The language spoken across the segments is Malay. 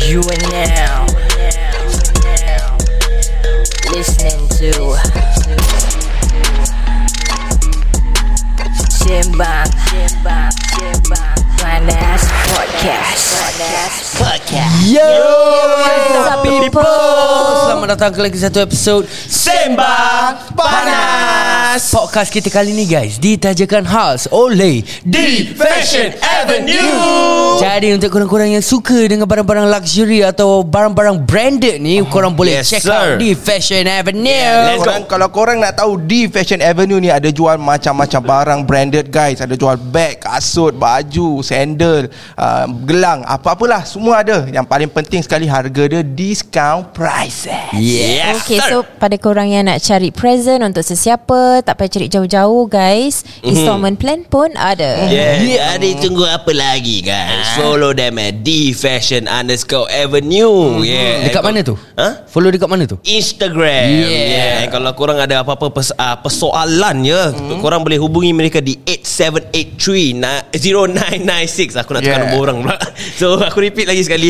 You are now listening to Simbang Panas Podcast Podcast Yo, what's up, people? Selamat datang ke lagi satu episod Sembang Panas Podcast kita kali ni guys Ditajakan khas oleh di Fashion Avenue. Jadi untuk korang-korang yang suka dengan barang-barang luxury Atau barang-barang branded ni Korang boleh Oh, Yes, check sir. out di Fashion Avenue Yeah, Let's go. korang, Kalau korang nak tahu Di Fashion Avenue ni Ada jual macam-macam barang branded guys Ada jual bag, kasut, baju, sandal uh, Gelang, apa-apalah Semua ada Yang paling penting sekali Harga dia discount price eh. Yes, Okay so pada korang yang nak cari present Untuk sesiapa Tak payah cari jauh-jauh guys Mhm. Installment plan pun ada Yeah. yeah. Adik tunggu apa lagi Ah. guys? Follow them at D Fashion underscore Avenue. Yeah. Mhm. Dekat And mana kau- tu? Ha? Follow dekat mana tu? Instagram. Yeah. And Kalau korang ada apa-apa pers- uh, persoalan ya, Mhm. mm. korang boleh hubungi mereka di 8783 na- 0996. Aku nak tukar Yeah. nombor orang pula. So aku repeat lagi sekali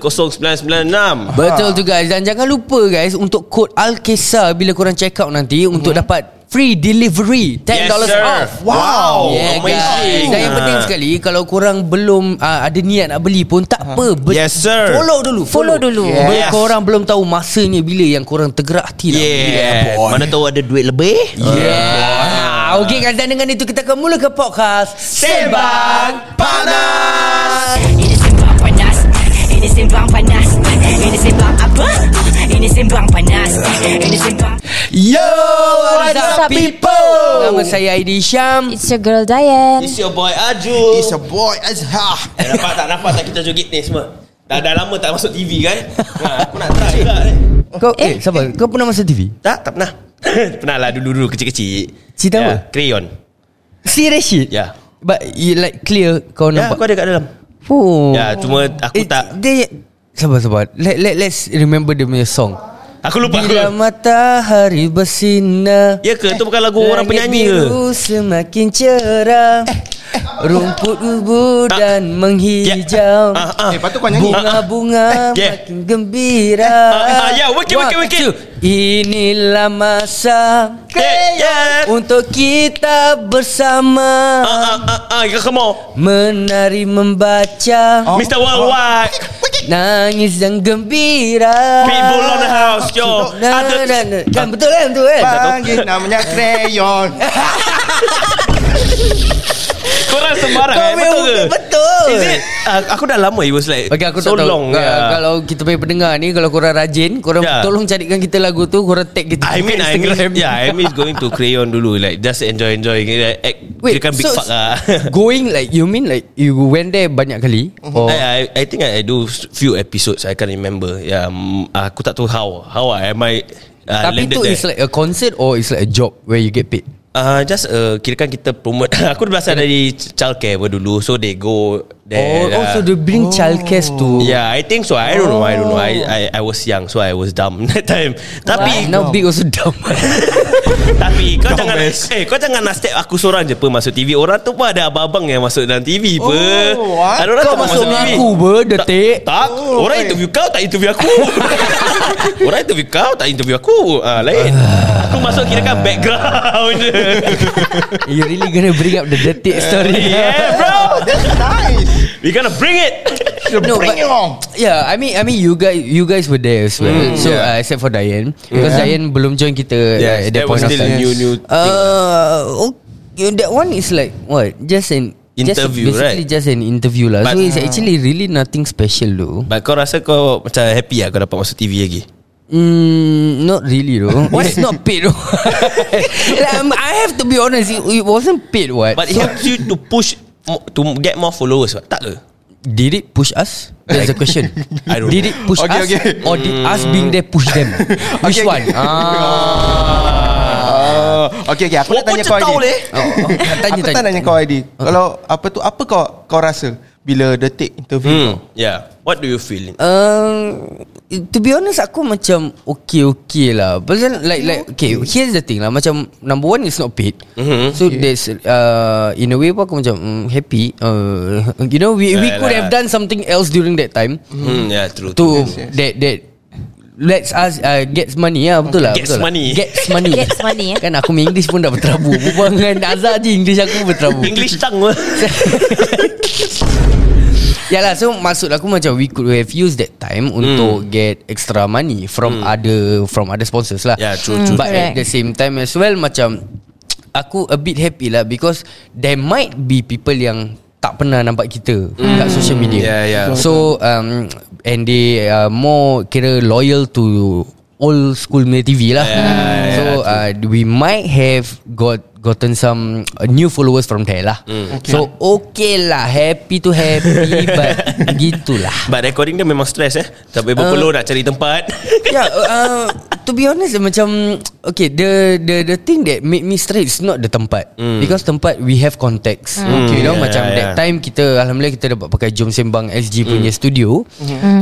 87830996. Betul tu guys Dan jangan lupa guys Untuk kod Alkesa Bila korang check out nanti Untuk Mhm. dapat Free delivery $10 off Wow, yeah, Oh, amazing. guys. Dan yang penting sekali Kalau korang belum uh, Ada niat nak beli pun Tak apa Be- Uh-huh. Yes, sir. Follow dulu Follow dulu. yes. Bila Yes. korang belum tahu Masanya bila Yang korang tergerak hati nak beli. Yeah. Mana tahu ada duit lebih? Yeah. Okay guys Dan dengan itu Kita akan mulakan podcast Sembang Panas Ini Simbang Panas Ini Simbang Panas Ini Simbang apa? Ini Simbang Panas Ini Simbang Yo What's What's up up, people Nama saya Aidy Syam It's your girl Diane It's your boy Aju It's a boy Azhar Eh, Nampak tak nampak tak kita joget ni semua Dah, dah lama tak masuk TV kan ha, Aku nak try juga ni. Kau eh, sabar Kau pernah masuk TV? Tak tak pernah Pernah lah dulu-dulu kecil-kecil Cerita Ya, apa? Crayon Serious shit? Ya. But you like clear Kau Ya aku nampak ada kat dalam Oh Ya cuma aku Eh, tak dia, Sabar sabar let, let, Let's remember dia punya song Aku lupa Bila aku matahari bersinar Ya ke? Itu bukan lagu orang langit penyanyi ke? Eh, biru semakin cerah Rumput gugur Tak. dan menghijau Ah, ah. Eh, patut kau nyanyi. Bunga-bunga Yeah. makin gembira Ah, ya, wakil, wakil, One, wakil. two. Inilah masa Eh, ya. Untuk kita bersama Ah, ah, ah, ah, Come on Menari membaca Oh. Mr. Worldwide Nangis dan gembira People on the house Yo Nah, Ada nah, nah. Kan betul kan betul kan Panggil namanya Crayon Korang sembarang Kau eh, memang Betul ke? betul. Is it? Ah, Aku dah lama It was like Okay aku So tak tahu long Ka- ya. Kalau kita punya pendengar ni Kalau korang rajin Korang Ya. tolong carikan kita lagu tu Korang tag kita I mean I miss, Instagram. Yeah I miss going to Crayon dulu Like just enjoy enjoy like, act, Wait, Kira kan big fuck lah Going like You mean like You went there banyak kali Or I, I, I think I, I do few episodes I can't remember Yeah, um, aku tak tahu how how I am I uh, Tapi landed tu there. is like a concert Or is like a job Where you get paid Uh, just uh, kira kan kita promote Aku berasal dari childcare pun dulu So they go Or there ah. oh, so they bring childcare to Yeah I think so I don't know I don't know Oh. I, I, I was young So I was dumb that time Tapi Now big also dumb Tapi kau jangan Eh kau jangan nak step aku seorang je pun masuk TV Orang tu pun ada abang-abang yang masuk dalam TV pun Oh, what? Ada orang Kau tak pun masuk dengan TV. aku pun, Tak- detik. Tak Oh, Orang baik. interview kau tak interview aku Orang interview kau tak interview aku ah, Lain Aku masuk kira kan background je You really gonna bring up The detik story Yeah bro That's nice We gonna bring it No, Bring it but- on Yeah, I mean, I mean, you guys, you guys were there as well. Mm, so uh, except for Diane, because Diane belum join kita uh, at that, that was point of still time. a new- new thing. Uh, okay, that one is like what? Just an Interview, just, basically right? Just an interview lah. So But- it's actually really nothing special though. But kau rasa kau macam happy lah kau dapat masuk TV lagi Mm, not really though. It's not paid though. Like, um, I have to be honest, it, it wasn't paid what? But it helps you to push mo- To get more followers what? Tak ke? Did it push us? That's the question. I don't did it push Okay, us okay. or did us being there push them? Okay, Which okay. one? Ah. Uh, okay, okay. Aku nak Walaupun tanya kau cetau Aidy. leh. Oh, oh. Tanya, Aku tak tanya. Oh. nanya kau Aidy. Kalau apa tu apa kau kau rasa bila detik interview Hmm, yeah. What do you feel? Um, To be honest aku macam Okay okay lah Pasal like like Okay here's the thing lah Macam number one is not paid mm-hmm. So there's uh, In a way pun aku macam mm, Happy uh, You know we, we Yalah. could have done something else During that time Hmm, yeah, true. To true. that that Let's us uh, Gets money lah Betul lah Gets betul lah. money. Gets money Gets money, eh. Kan aku punya English pun dah berterabur Berbual dengan Azhar je English aku berterabur English tongue lah. Yalah Ya lah, so maksud aku macam we could have used that time Hmm. untuk get extra money from other from other sponsors lah. Yeah, Hmm. Ya, true, true, But correct. at the same time as well macam aku a bit happy lah because there might be people yang tak pernah nampak kita Hmm. kat social media. Yeah, yeah. So um and they are more kira loyal to old school punya TV lah. Yeah, so uh, we might have got gotten some uh, new followers from there lah. Mm. So okay lah, happy to happy but gitulah. But recording dia memang stress eh. Sampai Uh. berpeluh nak cari tempat. yeah, uh, to be honest macam okay the the the thing that made me straight is not the tempat mm. because tempat we have context. Hmm. Mm. You know Hmm. Yeah, yeah, macam yeah, yeah, that yeah. Hmm. time kita alhamdulillah kita dapat pakai Jom Sembang SG mm. punya studio. Hmm.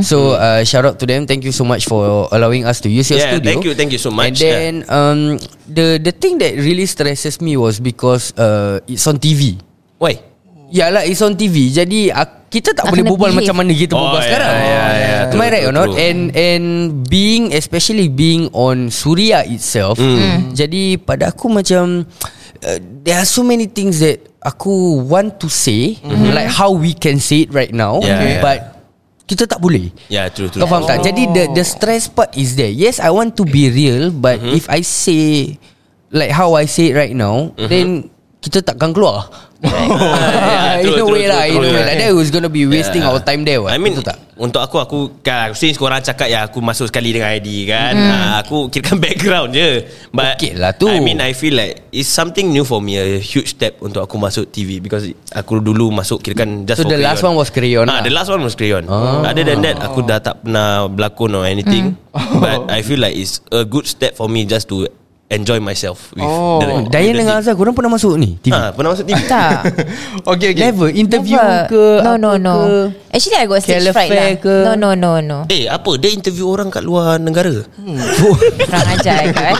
Mm. So uh, shout out to them. Thank you so much for allowing us to use your Yeah, studio. thank you, thank you so much. And then um the the thing that really stresses me was because uh it's on TV. Why? Yalah lah, it's on TV Jadi ak- kita tak, Tak boleh kena berbual behave. macam mana kita Oh, berbual yeah, sekarang yeah, yeah. Am I True, right or true, not? true. And and being especially being on Suria itself Hmm. Jadi pada aku macam uh, There are so many things that aku want to say Like how we can say it right now Hmm. Yeah, yeah. But kita tak boleh Yeah, Ya, true, true. kau faham tak? Jadi the the stress part is there. Yes, I want to be real, but mm-hmm. if I say like how I say it right now, mm-hmm. then kita takkan keluar. Oh, yeah, in Ah, ya, true, a true, way lah, in a true, true. way lah. That was gonna be wasting yeah. our time there. Eh, What? I mean Betul tak? Untuk aku Aku kan, Since korang cakap Ya aku masuk sekali dengan ID kan mm. uh, Aku kirakan background je But Okey lah tu. I mean I feel like It's something new for me A huge step Untuk aku masuk TV Because aku dulu masuk Kirakan just So for the last one was crayon lah. Ah, Ah. The last one was crayon oh. Other than that Aku dah tak pernah Berlakon or anything But I feel like It's a good step for me Just to Enjoy myself with Oh. Oh, Dayan dengan Azhar, korang pernah masuk ni? TV? ha, Pernah masuk TV? Ah, Tak Hmm. Okay, okay. Never interview Never. ke No apa no no ke? Actually I got stage Calefare fright lah ke? No no no no Eh apa Dia interview orang kat luar negara Kurang ajar kau eh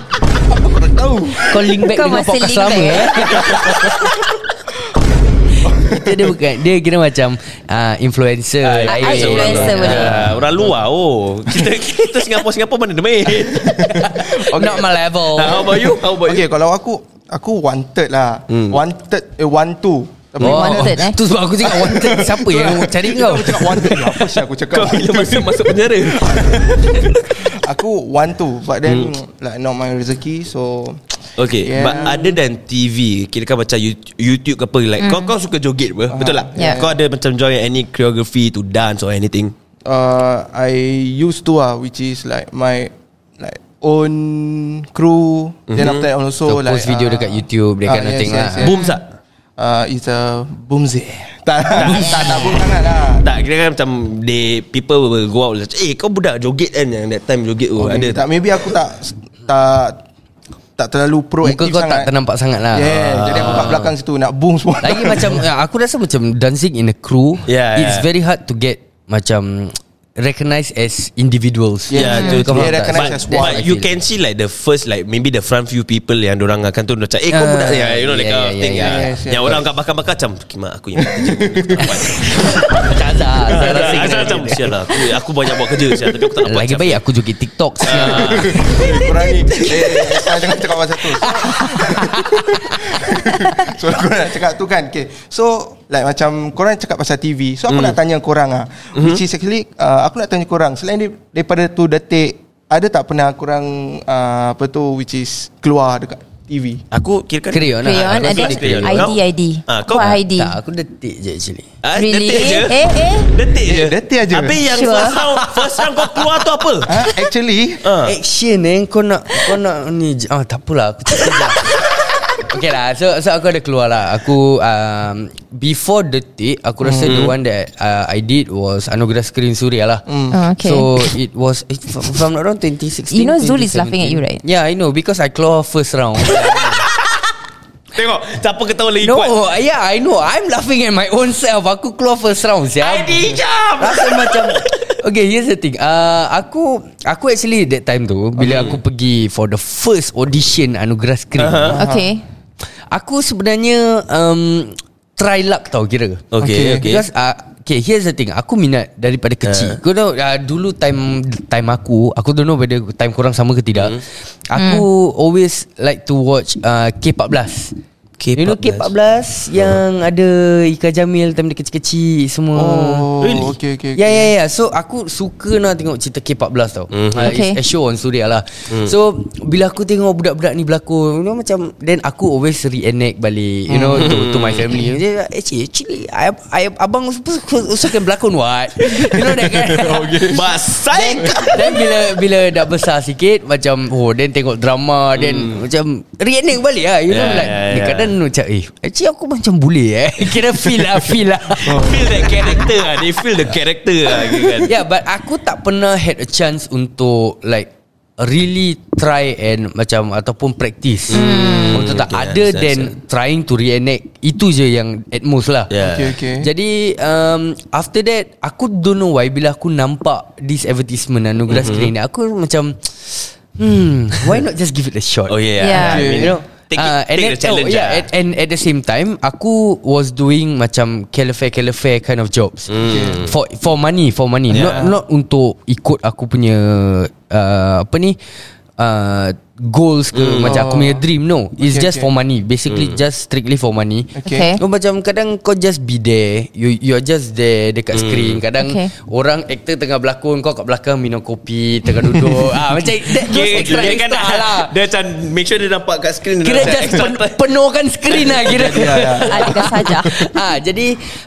Kau link back Kau dengan masih podcast link lama back. eh. Itu dia bukan Dia kira macam uh, Influencer Ah, Ah, lain. influencer Ah, boleh. Orang luar oh. Kita kita Singapura-Singapura mana demit. okay. Not my level Ah, Nah, how about you? How about Okay, kalau aku aku wanted lah. Hmm. Wanted eh want to. Tapi Oh, wanted, eh? Tu sebab aku cakap wanted Siapa yang cari kau Aku cakap wanted ni, Apa sih aku you? Kau cakap bila masuk masuk penjara. Aku want to But then Hmm. Like not my rezeki So Okay, yeah. Yeah. but other than TV, kira kan macam YouTube, YouTube ke apa like mm. kau kau suka joget apa? Betul tak? Yeah. Kau ada macam join any choreography to dance or anything? uh, I used to ah, which is like my like own crew. Mm-hmm. Then after that also Hmm. So, like ah, post video dekat YouTube, that kind of thing lah. Yeah. Boom tak? Uh, it's a boomzy. Tak tak tak, tak boom sangat lah. Tak kira kan macam they people will go out like, eh kau budak joget kan yang that time joget oh, Okay, ada tak? tak maybe aku tak tak tak terlalu Muka proaktif kau tak sangat. ternampak sangat lah Yeah, jadi aku kat belakang situ nak boom semua. Lagi macam ya, Aku rasa macam Dancing in a crew Yeah, It's yeah. very hard to get Macam Recognized as individuals Yeah, Kau yeah, faham yeah, tak? recognized But, as That's one. what I but you feel. can see like the first like maybe the front few people yang orang akan tu macam eh kau Ah, budak ni you know like yeah, kind of yeah, thing yeah, ah. yes, yes, yang orang kat bakar-bakar macam kimak aku yang kerja aku tak buat." Macam Azhar Azhar rasa Azhar kena- macam sial lah aku, aku banyak buat kerja sial tapi aku tak nak buat Lagi sial." baik aku joget TikTok Ya. Korang ni eh, eh, Jangan cakap pasal tu So korang nak cakap tu kan okay. So Like macam Korang cakap pasal TV So Hmm. aku mm. nak tanya korang ah, mm-hmm. Which is actually uh, Aku nak tanya korang Selain di, daripada tu detik Ada tak pernah korang uh, Apa tu Which is Keluar dekat TV aku kira kan Crayon lah Crayon Aku ada joget crayon. Kau- ID ID Ah, Kau kau- ID Tak aku detik je actually Ah, Really detik je Eh eh eh detik je Eh, detik je. tapi yang Sure. first round first round kau keluar tu apa ha? Actually Ah. Action eh Kau nak Kau nak ni je. Ah tak apalah Aku tak sekejap Okay lah so, so aku ada keluar lah Aku um, Before detik Aku rasa Hmm. the one that uh, I did was Anugerah Screen Suria lah Hmm. Ah, okay. So it was eh, If if I'm not wrong 2016 You know Zul is laughing at you, 2017. right? Yeah I know Because I keluar first round Tengok Siapa ketawa lagi kuat No Yeah I know I'm laughing at my own self Aku keluar first round siap. Adijam Rasa macam Okay here's the thing uh, Aku Aku actually that time tu Bila aku pergi For the first audition Anugerah Screen uh-huh. Okay Aku sebenarnya um, Try luck tau kira Okay, okay. Because uh, Okay here's the thing Aku minat Eh. daripada kecil uh. Kau tahu uh, Dulu time Time aku Aku don't know whether Time korang sama ke tidak Hmm. Aku always Like to watch uh, K-14 K-14. You know K-14 Yang Uh-huh. ada Ika Jamil Time dia kecil-kecil Semua Oh, Really? okay, okay, okay. Ya ya ya So aku suka nak tengok cerita K-14 tau Hmm. mm. uh, Okay. okay. It's a show on Suria lah Hmm. mm. So bila aku tengok budak-budak ni berlakon You know macam Then aku always reenact balik You know to, to my Hmm. family Dia cakap, Actually, actually I, I, Abang usahakan berlakon what You know that kind Basai Then bila bila dah besar sikit Macam Oh then tengok drama Then macam Reenact balik lah You know Hmm. Yeah, like yeah, yeah. yeah, Kadang macam Eh actually aku macam boleh eh Kira feel lah Feel lah Feel that character lah They feel the character lah kira kan. Yeah Ya, but aku tak pernah Had a chance untuk Like Really try and Macam Ataupun practice hmm. Betul tak Okay, Other understand, than Trying to reenact Itu je yang At most lah Yeah. Okay, okay. Jadi um, After that Aku don't know why Bila aku nampak This advertisement Anugerah mm-hmm. screen ni Aku macam Hmm Why not just give it a shot Oh yeah, Yeah. I mean, You know Take, it- Ah, and take then- the challenge oh, yeah, lah. and, and at the same time Aku was doing Macam Calafare Calafare kind of jobs mm. For for money For money Hmm. yeah. Yeah. Not not untuk Ikut aku punya uh, Apa ni uh, Goals ke Hmm. mm. Macam aku punya Oh. dream No Okay, It's okay, just okay. okay. for money Basically mm. just strictly for money Okay, Kau macam kadang kau just be there You you're just there dekat hmm. screen Kadang Okay. okay. orang aktor tengah berlakon Kau kat belakang minum kopi Tengah duduk ah, Macam that, those Kira, extra kira kan extra lah Dia macam Make sure dia nampak kat screen dia Kira nampak just extra pen, penuhkan screen lah kira Alihkan saja ah, Jadi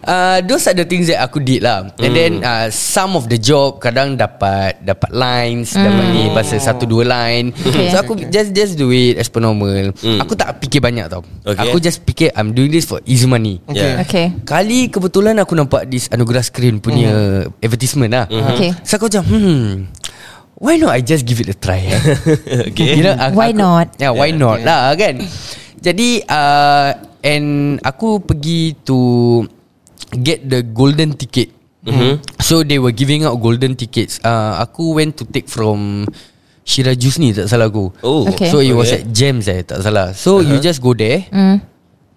uh, Those are the things that aku did lah And then uh, Some of the job Kadang dapat Dapat lines Dapat ni Pasal satu dua line Okay. So aku just just do it As per normal Aku tak fikir banyak tau Okay. Aku just fikir I'm doing this for easy money Yeah. Okay Kali kebetulan aku nampak This Anugerah Screen punya mm. Advertisement lah mm-hmm. Okay. So aku macam Hmm Why not I just give it a try eh? Okay. You know, aku, Why aku, not? yeah, Why yeah, not lah kan Jadi uh, And Aku pergi to Get the golden ticket mm-hmm. So they were giving out golden tickets uh, Aku went to take from Shira Jusni tak salah aku Oh. Okay. So it was at Okay. Gems eh tak salah So uh-huh. you just go there mm.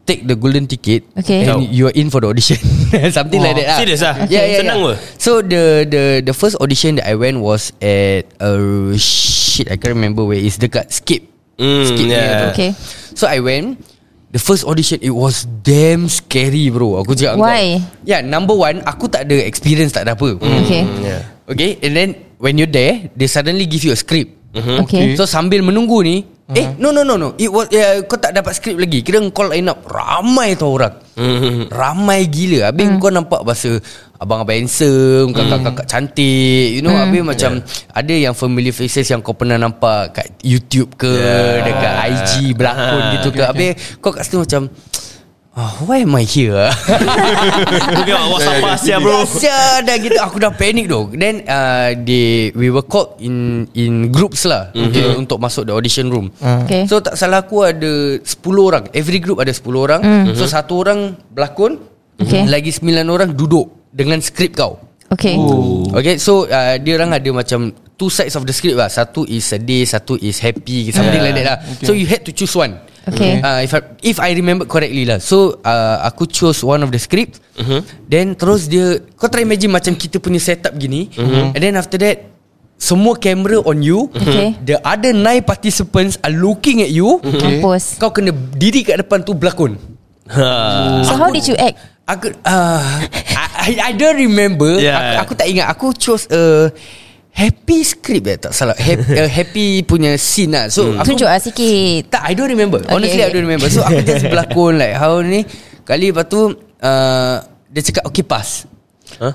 take the golden ticket Okay. and Tahu. you are in for the audition something like that lah. Serious ah? yeah, yeah, Senang yeah. ke? so the the the first audition that I went was at uh, shit I can't remember where it's dekat skip Mm, skip punya yeah. tu. Okay so I went The first audition It was damn scary bro Aku cakap dengan Why? kau. Yeah number one Aku tak ada experience Tak ada apa Hmm. Okay yeah. Okay and then When you're there They suddenly give you a script Mhm. Okay Eh? So sambil menunggu ni uh-huh. Eh no no no no It was yeah, Kau tak dapat skrip lagi Kira kau line up Ramai tau orang Hmm. mm-hmm. Ramai gila Habis mm. kau nampak bahasa Abang-abang handsome Hmm. Kakak-kakak cantik You know mm. Habis macam Ada yang familiar faces Yang kau pernah nampak Kat YouTube ke yeah. Dekat IG Berlakon Ah, gitu ke Habis kau kat situ macam Oh, why am I here? Mungkin awak WhatsApp Asia bro Sia dah gitu aku dah panic tu. Then uh, they we were called in in groups lah Mm-hmm. okay, untuk masuk the audition room. Ah. Okay. So tak salah aku ada 10 orang. Every group ada 10 orang. Mm. So satu orang berlakon, Hmm. Okay. lagi 9 orang duduk dengan skrip kau. Okay Okay so uh, Dia orang ada macam Two sides of the script lah Satu is sedih Satu is happy Something yeah. like that lah okay. So you had to choose one Okay. uh, if, I, if I remember correctly lah So uh, Aku choose one of the script uh-huh. Then terus dia Kau try imagine Macam kita punya setup gini uh-huh. And then after that Semua camera on you Okay. The other nine participants Are looking at you Mampus Kau kena diri kat depan tu berlakon So how did you act? Aku uh, I, I don't remember Yeah. aku, aku tak ingat Aku chose a Happy script eh Tak salah Happy, uh, happy punya scene lah So hmm. aku Tunjuk lah sikit Tak I don't remember Okay, Honestly okay. I don't remember So aku just berlakon Like how ni Kali lepas tu uh, Dia cakap okay pass Huh?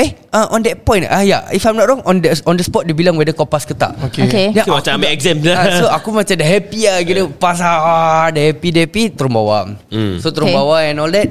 Eh uh, on that point Ah yeah If I'm not wrong On the on the spot Dia bilang whether kau pass ke tak Okay. Okay. Eh, Dia- So, macam aku- ambil exam Eh. Ah, so aku macam dah happy lah Kira pas ah, Dah happy dah happy Terus bawa Hmm. So terus Okay. bawa and all that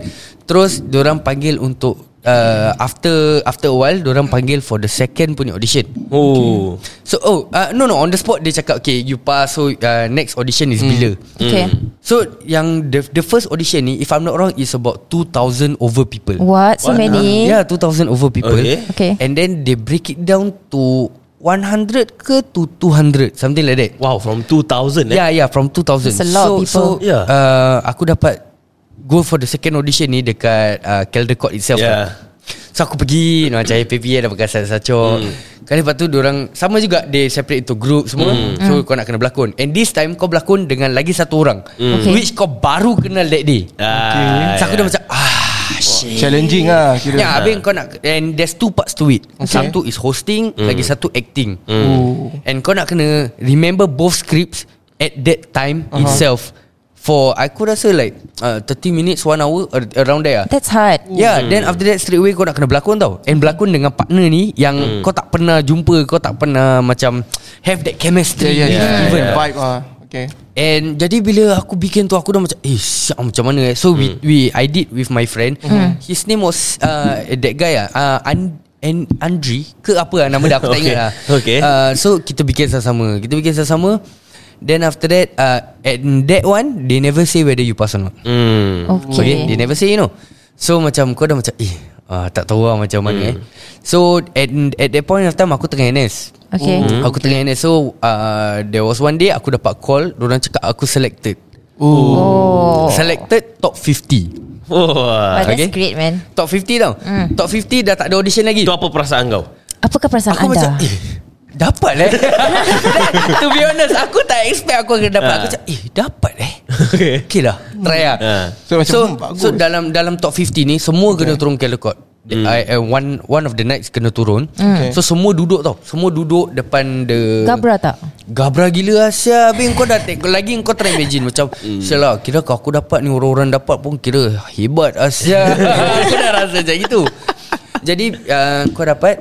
Terus Diorang panggil untuk uh, after after a while orang panggil for the second punya audition. Oh. So oh uh, no no on the spot dia cakap okay you pass so uh, next audition Hmm. is bila. Okay. Hmm. So yang the the first audition ni if I'm not wrong is about 2000 over people. Ah. What? So What? many? Yeah, 2000 over people. Okay. Okay. And then they break it down to 100 ke to 200 something like that. Wow, from 2000 eh. Yeah, yeah, from 2000. That's a lot so, of people. So, Yeah. uh, aku dapat go for the second audition ni dekat uh, Caldecott itself. Yeah. Lah. So aku pergi you know, Macam APP Ada pakai sacok Hmm. mm. Kali lepas tu orang Sama juga They separate into group semua mm. Hmm. Hmm. So kau nak kena berlakon And this time Kau berlakon dengan lagi satu orang Hmm. Okay. Which kau baru kenal that day Ah, So aku dah yeah. macam Ah shit Challenging lah kira. Ya, habis kau nak and there's two parts to it. Okay. Satu is hosting, mm. Hmm. lagi satu acting. Mm. Oh. And kau nak kena remember both scripts at that time uh-huh. itself. For aku rasa like uh, 30 minutes, 1 hour ar- around there. lah. That's hard. Yeah, then after that straight away kau nak kena berlakon tau. And berlakon dengan partner ni yang kau tak pernah jumpa, kau tak pernah macam have that chemistry. Yeah, yeah, yeah, even. yeah. Vibe ah. Okay. And jadi bila aku bikin tu aku dah macam eh syak macam mana eh. So we Hmm. we I did with my friend. His name was uh, that guy ah uh, and and Andri ke apa lah nama dia aku tak ingat lah. Okay. Uh, so kita bikin sama-sama. Kita bikin sama-sama. Then after that uh, at that one they never say whether you pass or not. Hmm. Okay. okay They Okay. never say you know So macam kau dah macam Eh ah, tak tahu lah macam mana Hmm. eh So at, at that point of time Aku tengah NS Okay. Hmm. mm. Aku tengah NS So uh, There was one day Aku dapat call Diorang cakap aku selected Oh. Selected top 50 But Wah. that's Okay. great, man. Top 50 tau mm. Hmm. Top 50 dah tak ada audition lagi Itu apa perasaan kau? Apakah perasaan Aku anda? macam eh Dapat eh To be honest Aku tak expect aku akan dapat Aku Ah. macam eh dapat eh Okay. Okay lah Try lah Ah. So, macam, so, hmm, bagus. so dalam dalam top 50 ni Semua kena turun ke lekot Hmm. I, uh, one one of the nights kena turun Okay. So semua duduk tau Semua duduk depan the Gabra tak? Gabra gila Asia Habis kau dah take Lagi kau try imagine Macam Sialah kira kau aku dapat ni Orang-orang dapat pun kira Hebat Asia Aku dah rasa macam itu Jadi uh, Kau dapat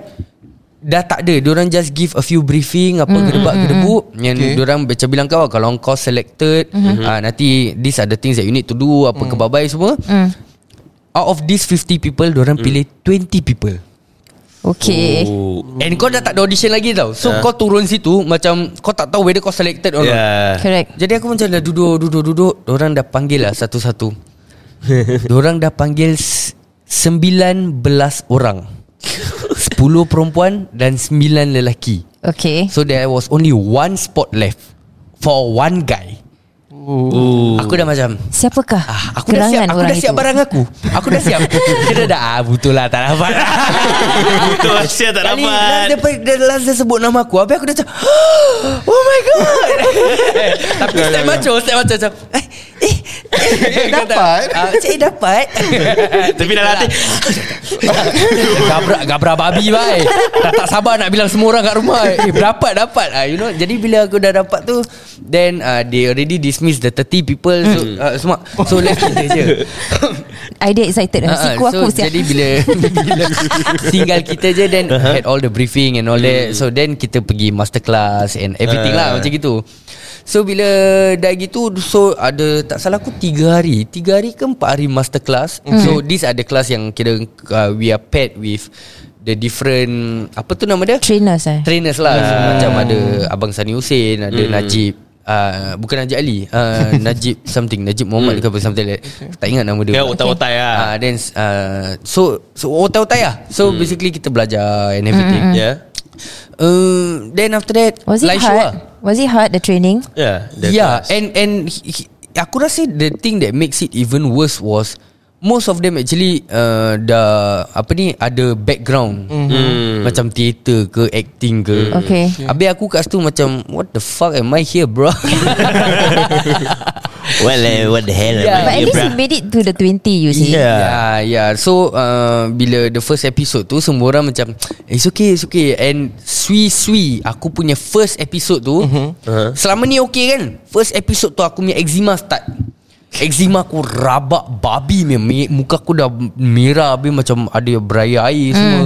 Dah tak ada Diorang just give a few briefing Apa gedebak gedebu Okay. Yang okay. diorang macam bilang kau Kalau kau selected uh, Nanti These are the things that you need to do Apa kebabai semua Hmm. Out of these 50 people Diorang pilih 20 people Eh. Okay. Oh. And kau dah tak ada audition lagi tau So Ah. kau turun situ Macam Kau tak tahu whether kau selected or not Yeah. Correct. jadi aku macam dah duduk duduk duduk orang dah panggil lah satu-satu. orang dah panggil s- 19 orang. 10 perempuan dan 9 lelaki. Okay. So there was only one spot left for one guy. Ooh. Aku dah macam Siapakah? Ah, aku dah siap, aku dah siap barang aku. Aku dah siap. Kira dah ah betul lah tak dapat. Betul Asia tak Kali last dapat. lah dia, pe- dia last dia sebut nama aku Habis aku dah macam Oh my god Eh, Tapi step macho Step macho macam Eh Eh eh, kata, dapat. ah, Macam eh dapat Tapi lah. dalam hati Gabra Gabra babi bye Dah tak sabar nak bilang semua orang kat rumah Eh dapat dapat ah, You know Jadi bila aku dah dapat tu Then uh, They already dismiss the 30 people So uh, semua So left kita je Idea excited. Uh, Ah, ah, Siku so aku siap. Jadi bila, bila Tinggal kita je Then uh-huh. had all the briefing And all that So then kita pergi masterclass And everything Ah. lah Macam gitu So bila Dah gitu So ada Tak salah aku Tiga hari Tiga hari ke empat hari masterclass Hmm. So these are the class yang Kira uh, We are paired with The different Apa tu nama dia? Trainers eh? Trainers lah so, Macam ada Abang Sani Hussein Ada Najib uh, Bukan Najib Ali uh, Najib something Najib Muhammad ke apa Something like that Tak ingat nama dia Dia pula. otak-otak lah Ah, then uh, so so otai-otai lah. So basically kita belajar and everything. Yeah Uh, then after that Mm-hmm. Was it live show hard? Was it hard the training? Yeah Lah. Yeah, and and he, he, aku rasa the thing that makes it even worse was most of them actually uh, the apa ni ada background mm-hmm. macam theater ke acting ke. Okay. Habis aku kat situ macam what the fuck am I here bro? Well eh, what the hell Yeah. But at least you made it to the 20 you see. Yeah Yeah, yeah. So uh, bila the first episode tu semua orang macam "Eh, it's okay, it's okay. And sui sui aku punya first episode tu uh-huh. selama ni okay kan? First episode tu aku punya eczema start. Eczema aku rabak babi punya. Me- Muka aku dah merah Habis macam ada beraya Hmm. air semua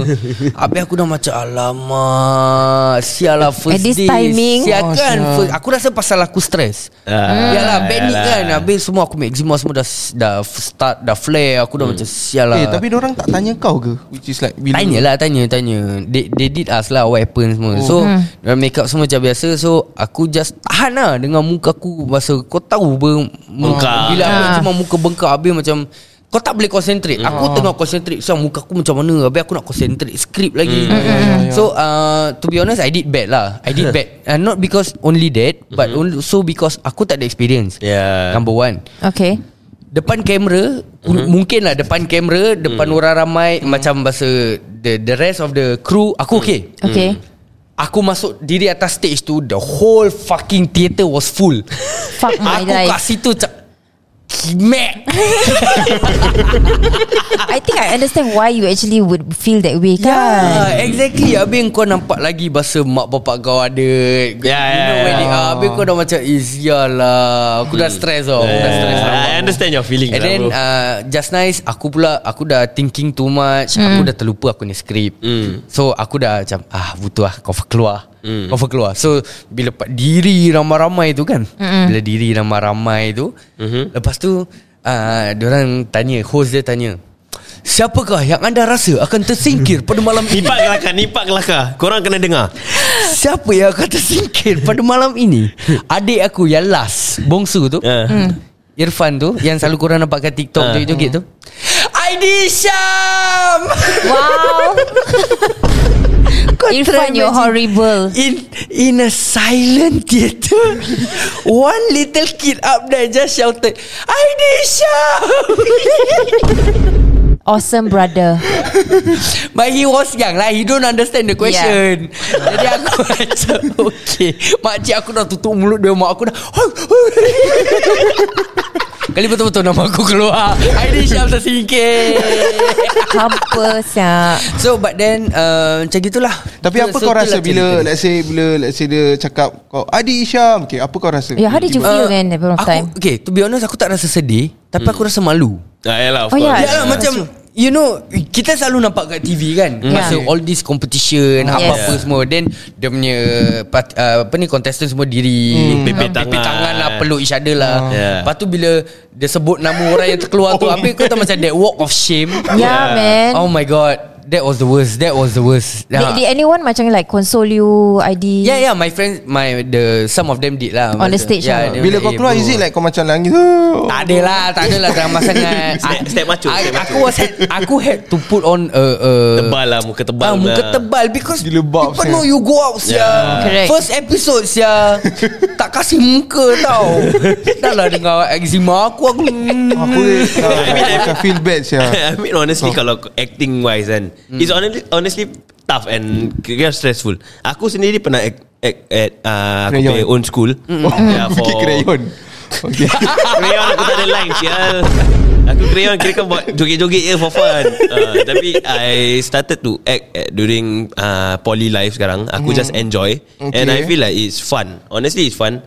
Habis aku dah macam Alamak Sial lah first At this day timing. Sial Oh, kan sial. first, Aku rasa pasal aku stres Ah, Yalah bad ni yalah. kan Habis semua aku punya eczema semua dah, dah start Dah flare Aku dah macam sial lah Eh tapi orang tak tanya kau ke Which is like bila Tanya lah tanya tanya they, they did ask lah What Oh. happened semua So hmm. Make up semua macam biasa So aku just Tahan lah Dengan muka aku Masa kau tahu ber, Bengkak. Bila aku Ah. cuma muka bengkak Habis macam kau tak boleh concentrate Hmm. Aku tengah concentrate Siang muka aku macam mana Habis aku nak concentrate Script Hmm. lagi Ya, So uh, To be honest I did bad lah I did bad uh, Not because only that But Hmm. only, so because Aku tak ada experience Ya. Yeah. Number one Okay Hmm. depan kamera mm-hmm. mungkin lah depan kamera depan mm. orang ramai mm. macam bahasa the the rest of the crew aku okay Okay aku masuk diri atas stage tu the whole fucking theater was full Fuck aku my kat life situ cak Kimek I think I understand why you actually would feel that way kan Yeah, Ya, exactly Habis kau nampak lagi Bahasa mak bapak kau ada yeah, You know yeah, when yeah. they are Habis kau dah macam Izialah Aku dah stress tau Ya, Aku dah stress Yeah, rabak. Eh, I understand your feelings And lah, then bro. uh, Just nice Aku pula Aku dah thinking too much Aku dah terlupa Aku ni skrip Hmm. So aku dah macam Ah butuh lah Cover keluar Cover keluar So Bila pa- diri ramai-ramai tu kan Bila diri ramai-ramai tu Mhm. Lepas tu uh, Diorang tanya Host dia tanya Siapakah yang anda rasa akan tersingkir pada malam ini? Nipak kelakar Nipak kelakar Korang kena dengar Siapa yang akan tersingkir pada malam ini? Adik aku yang last, bongsu tu. Ah. Irfan tu yang selalu korang nampak kat TikTok Ah. joget-joget tu. Aidi Syam. Wow Kau try Irfan imagine. you're horrible In in a silent theater One little kid up there Just shouted Aidi Syam Awesome brother But he was young lah He don't understand the question yeah. Jadi aku macam Okay Makcik aku dah tutup mulut dia Mak aku dah Kali betul-betul nama aku keluar Aini Syam tersingkir Hampa siap So but then uh, Macam gitulah Tapi So- apa so kau itulah rasa cerita bila dia. let's say bila let's say dia cakap kau Adi Isyam okay apa kau rasa? Yeah how did you feel Uh, kan man That point of aku, time Okay to be honest Aku tak rasa sedih Tapi Hmm. aku rasa malu ah, Yalah of Oh, course yeah. Ya lah macam You know Kita selalu nampak kat TV kan Hmm. yeah. Masa Yeah. all this competition Yes. Apa-apa semua Then Dia punya part, uh, Apa ni Contestant semua diri hmm. Pepek tangan. tangan lah Peluk each other lah Oh. Yeah. Lepas tu bila Dia sebut nama orang yang terkeluar tu Habis kau tahu macam That walk of shame Yeah man Oh my god That was the worst That was the worst Ah. Did, did anyone macam like console you ID Yeah yeah my friends My the Some of them did lah On the Macam- stage lah. dia Bila macam, kau "Eh, keluar bro." is it like kau macam nangis? Oh. Tak ada lah Tak ada lah drama sangat Step- I- step macut, I- step Aku macut. was had, Aku had to put on a, a Tebal lah Muka tebal Ah, muka lah. tebal Because Gila bab, People sia. know you go out sia Yeah. Correct. First episode sia Tak kasih muka tau Dah lah dengar eczema aku Aku Aku lah. mean, macam feel bad Ya, sia. I mean honestly oh. Kalau acting wise kan mm. It's honestly, honestly Tough and Kira stressful Aku sendiri pernah act, act At uh, Aku Crayon. punya own school mm. yeah, Fikir crayon. Okay. Crayon aku tak ada line sial Aku crayon kira kan buat joget-joget je for fun uh, Tapi I started to act at, during uh, poly life sekarang Aku just enjoy okay. And Okay. I feel like it's fun Honestly it's fun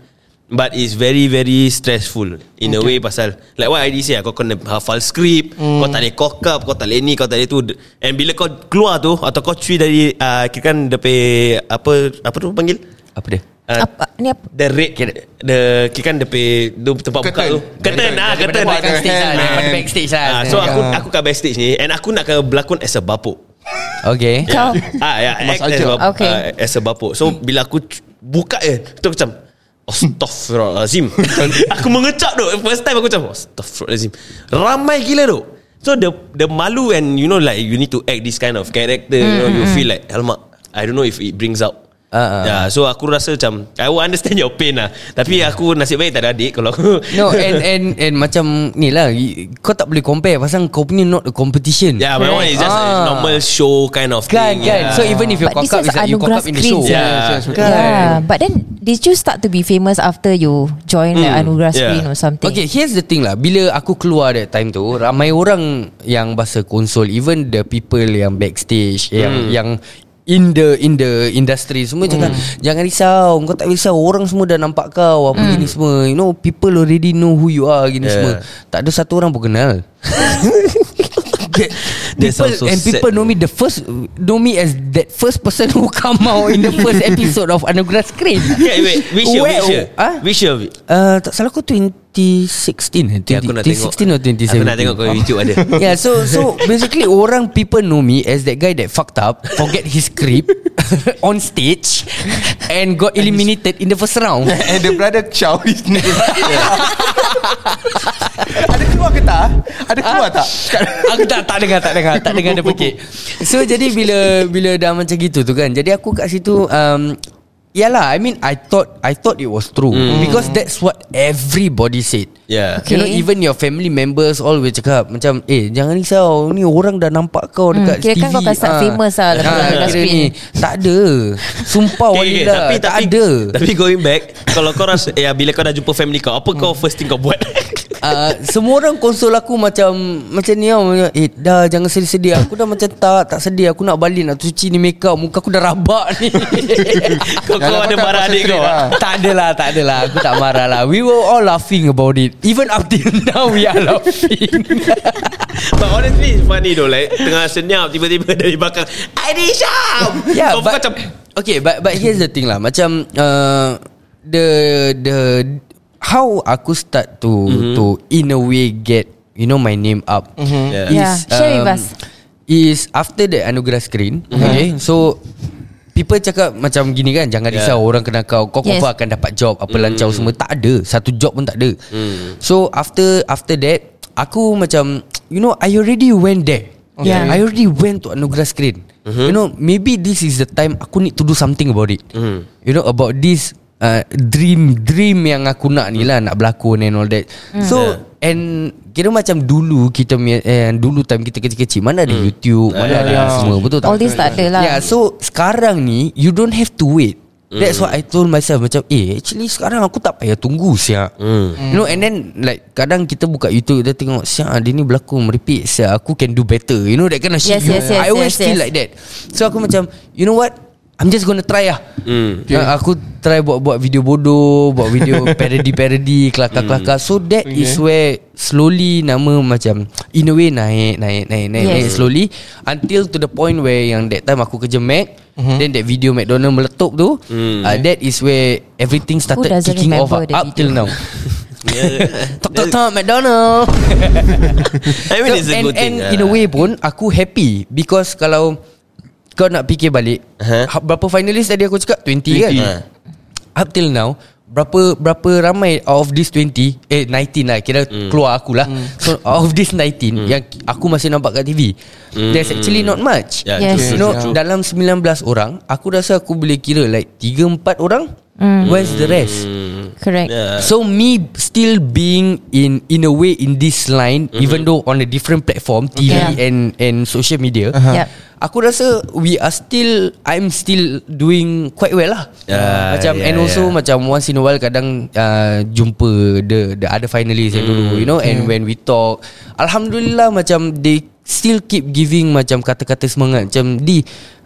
But it's very very stressful In okay. a way pasal Like what I did say Kau kena hafal skrip mm. Kau tak boleh cock up Kau tak boleh ni Kau tak boleh tu And bila kau keluar tu Atau kau cuci dari uh, Kira kan depe Apa Apa tu panggil Apa dia? uh, Apa, ni apa? The red The Kira kan depe tu Tempat buka Curtain. tu Curtain ah Daripada Curtain backstage lah Hand, Daripada man. backstage lah Ah, so aku aku kat backstage ni and aku nak kena berlakon as a bapuk. Okay Kau Ah ya, act Ajak. as, a, bapuk, Okay. ah, as a bapuk. So Hmm. bila aku c- buka eh tu aku macam Astaghfirullahalazim Aku mengecap tu First time aku macam Astaghfirullahalazim Ramai gila tu So the the malu and you know like You need to act this kind of character You know Mm-hmm. you feel like Alamak I don't know if it brings out Ah, ah. yeah, So aku rasa macam I will understand your pain lah Tapi aku nasib baik tak ada adik Kalau aku No and and and macam ni lah y- Kau tak boleh compare Pasal kau punya not a competition Yeah, Ya, my one is just Ah. a normal show kind of Kan thing. ya. kan yeah. So even if you But cock this up is It's like you cock anugerah up in the screen show sia. Yeah. Yeah. Kan? But then Did you start to be famous After you Join the Anugerah yeah. screen Or something Okay here's the thing lah Bila aku keluar that time tu Hmm. Ramai orang Yang bahasa konsol Even the people yang backstage Yang yang in the in the industry semua Hmm. cakap jangan risau kau tak risau orang semua dah nampak kau Hmm. apa gini semua you know people already know who you are gini Yeah. semua tak ada satu orang pun kenal That, That people, sounds so and sad. people know me the first know me as that first person who come out in the first episode of Anugerah Screen. Okay, wait. Which year? Where- Which year? Ah? Which year? Vic? Uh, tak salah aku 2016 eh? Okay, aku nak 2016 or tengok. 2017 Aku nak tengok kalau YouTube ada. Yeah so so Basically orang people know me As that guy that fucked up Forget his script On stage And got eliminated In the first round And the brother shout his name Ada keluar ke tak? Ada Ah. keluar tak? Aku tak tak dengar Tak dengar Tak dengar dia pekik So jadi bila Bila dah macam gitu tu kan Jadi aku kat situ um, Yalah I mean I thought I thought it was true mm. Because that's what Everybody said Hmm. Yeah. You know Okay. even your family members All will cakap Macam eh jangan risau Ni orang dah nampak kau Dekat Hmm, kira TV kan kau akan start Ah. famous lah lepas Ah, dekat kira screen. ni, Tak ada Sumpah Okay, okay, walillah Oh, tapi, lah. Tak tapi, ada Tapi going back Kalau kau rasa ya, Bila kau dah jumpa family kau Apa kau first thing kau buat Uh, semua orang konsol aku macam Macam ni tau macam, Eh dah jangan sedih-sedih Aku dah macam tak Tak sedih Aku nak balik Nak cuci ni make up Muka aku dah rabak ni Kau kau Jangan ada kau tak marah adik kau concentrate lah. ah? Tak adalah Tak adalah Aku tak marah lah We were all laughing about it Even up till now We are laughing But honestly it's funny though Like tengah senyap Tiba-tiba dari belakang Adik Syam Yeah Kau Ya, but, macam Okay but but here's the thing lah Macam uh, The The How aku start to Mhm. mm-hmm. To in a way get You know my name up mm-hmm. Mhm. Yeah. Yeah, share with us. Is after the Anugerah screen Mhm. mm-hmm. Okay So People cakap macam gini kan Jangan Yeah. Mm. yeah. risau orang kenal kau Kau Yes. confirm akan dapat job Apa lancar semua Tak ada Satu job pun tak ada mm. So after after that Aku macam You know I already went there okay. Yeah. I already went to Anugerah screen mm-hmm. You know Maybe this is the time Aku need to do something about it mm. You know about this uh, Dream Dream yang aku nak ni lah Nak berlakon and all that mm. So yeah. And Kira macam dulu Kita punya- eh, Dulu time kita kecil-kecil Mana ada YouTube Mana ada semua Betul tak All this tak ada lah. Yeah so Sekarang ni You don't have to wait That's what I told myself Macam eh actually sekarang aku tak payah tunggu siap mm. You know and then like Kadang kita buka YouTube Kita tengok siap dia ni berlakon merepek siap Aku can do better You know that kind of shit Yes, yes, yes, I always yes, feel yes. like that So aku macam You know what I'm just gonna try lah mm. okay. Aku try buat-buat video bodoh Buat video parody-parody Kelakar-kelakar So that okay. is where Slowly nama macam In a way naik Naik naik naik, Yes. yes. naik slowly until to the point where yang that time aku kerja Mac mm-hmm. then that video McDonald meletup tu mm. uh, that is where everything started doesn't kicking off remember up, up the till now tok tok Yeah. tok McDonald I mean it's a and, good and thing in a way pun aku happy because kalau kau nak fikir balik Uh-huh. uh-huh. berapa finalis tadi aku cakap 20, 20. kan 20. uh. up till now berapa berapa ramai out of this 20 eh 19 lah kira mm. Hmm. keluar akulah mm. so out of this 19 mm. yang aku masih nampak kat TV mm. there's actually not much Hmm. yeah, Yes. You true, true, know true. dalam 19 orang aku rasa aku boleh kira like 3 4 orang mm. where's the rest Hmm. Correct. Yeah. So me still being in in a way in this line Mhm. mm-hmm. even though on a different platform TV Yeah. yeah. and and social media. Uh-huh. Yep. Aku rasa we are still I'm still doing quite well lah. Yeah, macam yeah, and also yeah. macam once in a while kadang uh, jumpa the the other finalists yang Mm, dulu you know and when we talk alhamdulillah macam they still keep giving macam kata-kata semangat macam di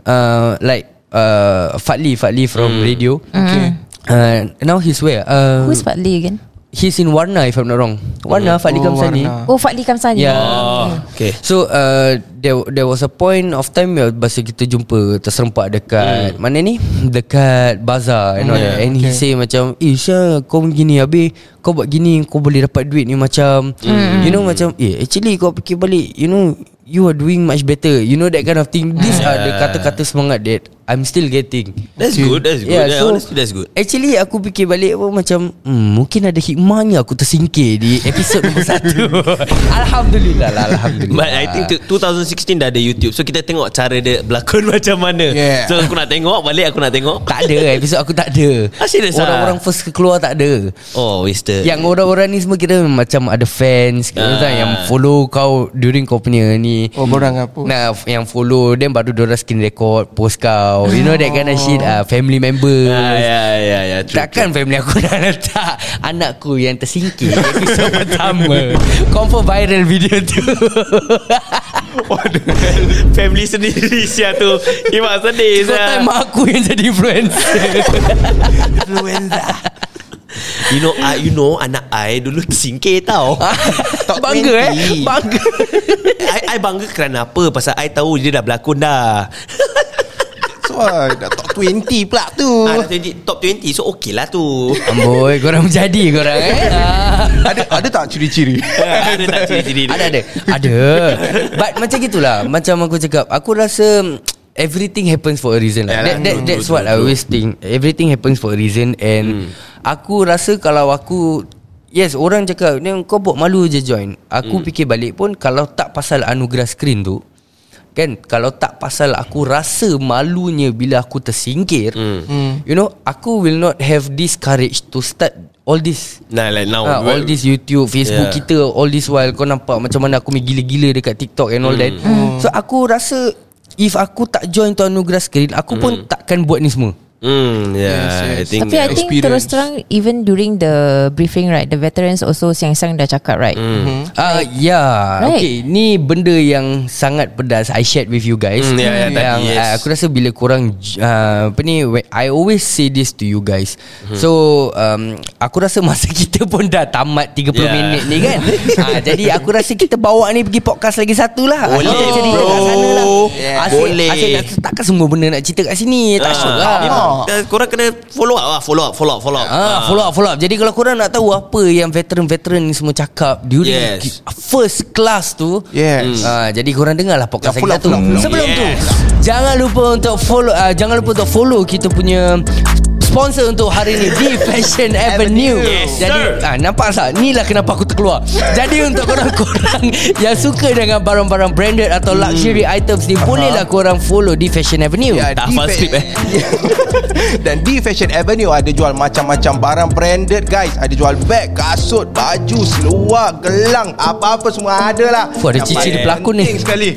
uh, like uh, Fadli Fadli Mm. from radio. Okay. Uh, now he's where? Uh, Who's Fadli again? He's in Warna if I'm not wrong Warna Fadli Oh, Kamsani Warna. Oh Fadli Kamsani. Yeah. Oh, okay So uh, there, there was a point of time where Masa kita jumpa Terserempak dekat Mana ni Dekat Bazaar And, all Hmm. Yeah, that. and he say macam Eh Syah kau gini Habis kau buat gini Kau boleh dapat duit ni macam Hmm. You know macam Eh actually kau fikir balik You know You are doing much better You know that kind of thing These are the kata-kata semangat That I'm still getting That's good That's good yeah, Honestly that's good Actually aku fikir balik pun macam hmm, Mungkin ada hikmahnya aku tersingkir di episod nombor satu Alhamdulillah lah Alhamdulillah But I think tu- 2016 dah ada YouTube So kita tengok cara dia berlakon macam mana Yeah. So aku nak tengok Balik aku nak tengok Tak ada eh, episod aku tak ada Ah, serious ah? Orang-orang first keluar tak ada Oh wasted Yang orang-orang ni semua kira macam ada fans kira Ah. kan, Yang follow kau during kau punya ni Oh, borang apa? Nah, f- yang follow Then baru diorang skin record Post kau kau You know that kind of shit uh, Family member Oh. Ah, ya, ya, ya. True, Takkan family aku dah letak Anakku yang tersingkir Episod pertama Confirm viral video tu true. Family sendiri Sia tu Imak sedih Kau sia. time mak aku yang jadi influencer You know I, You know Anak I dulu tersingkir tau Ah. Bangga eh Bangga I, I bangga kerana apa Pasal I tahu dia dah berlakon dah So ah, dah top 20 pula Oh. tu ah, dah 20, Top 20 So okay lah tu Amboi korang menjadi korang eh Ah. Ada ada tak ciri-ciri Ada tak ciri-ciri Ah, Ada dia? ada Ada But macam gitulah Macam aku cakap Aku rasa mm, Everything happens for a reason lah. Yalah, that, that, betul, That's betul, what I always think Everything happens for a reason Hmm. And Aku rasa kalau aku Yes orang cakap "Ni Kau buat malu je join Aku Hmm. fikir balik pun Kalau tak pasal anugerah screen tu Kan Kalau tak pasal aku rasa malunya Bila aku tersingkir Hmm. You know Aku will not have this courage To start all this Nah, like now Ah, all this YouTube, Facebook Yeah. yeah. kita all this while kau nampak macam mana aku main gila-gila dekat TikTok and all that. So aku rasa if aku tak join tu anugerah screen, aku pun takkan buat ni semua. Hmm, yeah, I think Tapi I think experience. terus terang Even during the briefing right The veterans also Siang-siang dah cakap right mm. Ah uh, ya, yeah. Right. right. okay, ni benda yang sangat pedas I shared with you guys. Hmm, ya, ya, tadi, yang yes. ah, aku rasa bila korang uh, apa ni when- I always say this to you guys. Mm-hmm. So um, aku rasa masa kita pun dah tamat 30 Ya. yeah. minit ni kan. ah, jadi aku rasa kita bawa ni pergi podcast lagi satu lah. Boleh, Asyik nak cerita kat bro. sana lah. Yeah. Asyik, Boleh. Ah, asyik nak, takkan semua benda nak cerita kat sini. Tak syok lah. uh, Korang kena follow up lah Follow up Follow up Follow up Ah, follow up, follow up. Jadi kalau korang nak tahu apa yang veteran-veteran ni semua cakap during Yes. ki- first class tu. Yes. Ah, jadi korang dengar lah podcast Ya, lagi follow up, follow up, follow satu. up. Sebelum tu, Yes. jangan lupa untuk follow ah, jangan lupa untuk follow kita punya sponsor untuk hari ni The Fashion Avenue. Yes, jadi sir. ah, nampak tak? Inilah kenapa aku terkeluar. jadi untuk korang-korang yang suka dengan barang-barang branded atau luxury items ni, bolehlah korang follow The Fashion Avenue. Hmm. Ya, Tak di hafal fa- skrip, eh. Dan di Fashion Avenue Ada jual macam-macam barang branded guys Ada jual beg, kasut, baju, seluar, gelang Apa-apa semua ada lah Fuh, ada Yang cicit paling pelakon ni. penting sekali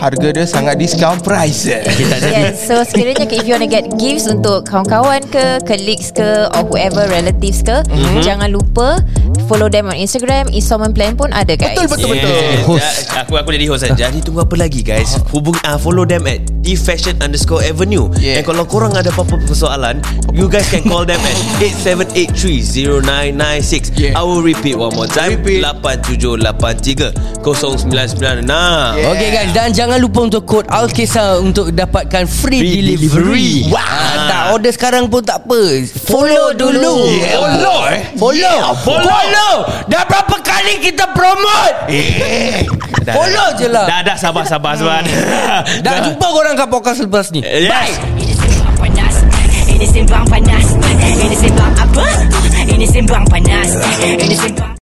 Harga dia sangat discount price eh. Yes So sekiranya If you want to get gifts Untuk kawan-kawan ke Colleagues ke Or whoever Relatives ke mm-hmm. Jangan lupa Follow them on Instagram Installment plan pun ada guys Betul, betul, betul Yeah, Host. ja- Aku aku jadi host kan. Jadi tunggu apa lagi guys Hubung uh, Follow them at Fashion underscore avenue Yeah. And kalau korang ada apa-apa persoalan You guys can call them at 87830996 Yeah. I will repeat one more time 8783-0996 yeah. Okay guys Dan jangan lupa untuk kod Alkisah Untuk dapatkan free, Free free delivery. delivery, Wah. Ah, Tak order sekarang pun tak apa Follow dulu Yeah, follow, eh. Follow Yeah, follow. Follow Dah berapa kali kita promote Follow je lah Dah dah sabar sabar sabar Dah jumpa korang kat podcast lepas ni Yes Ini sembang panas Ini sembang panas Ini sembang apa? Ini sembang panas Ini sembang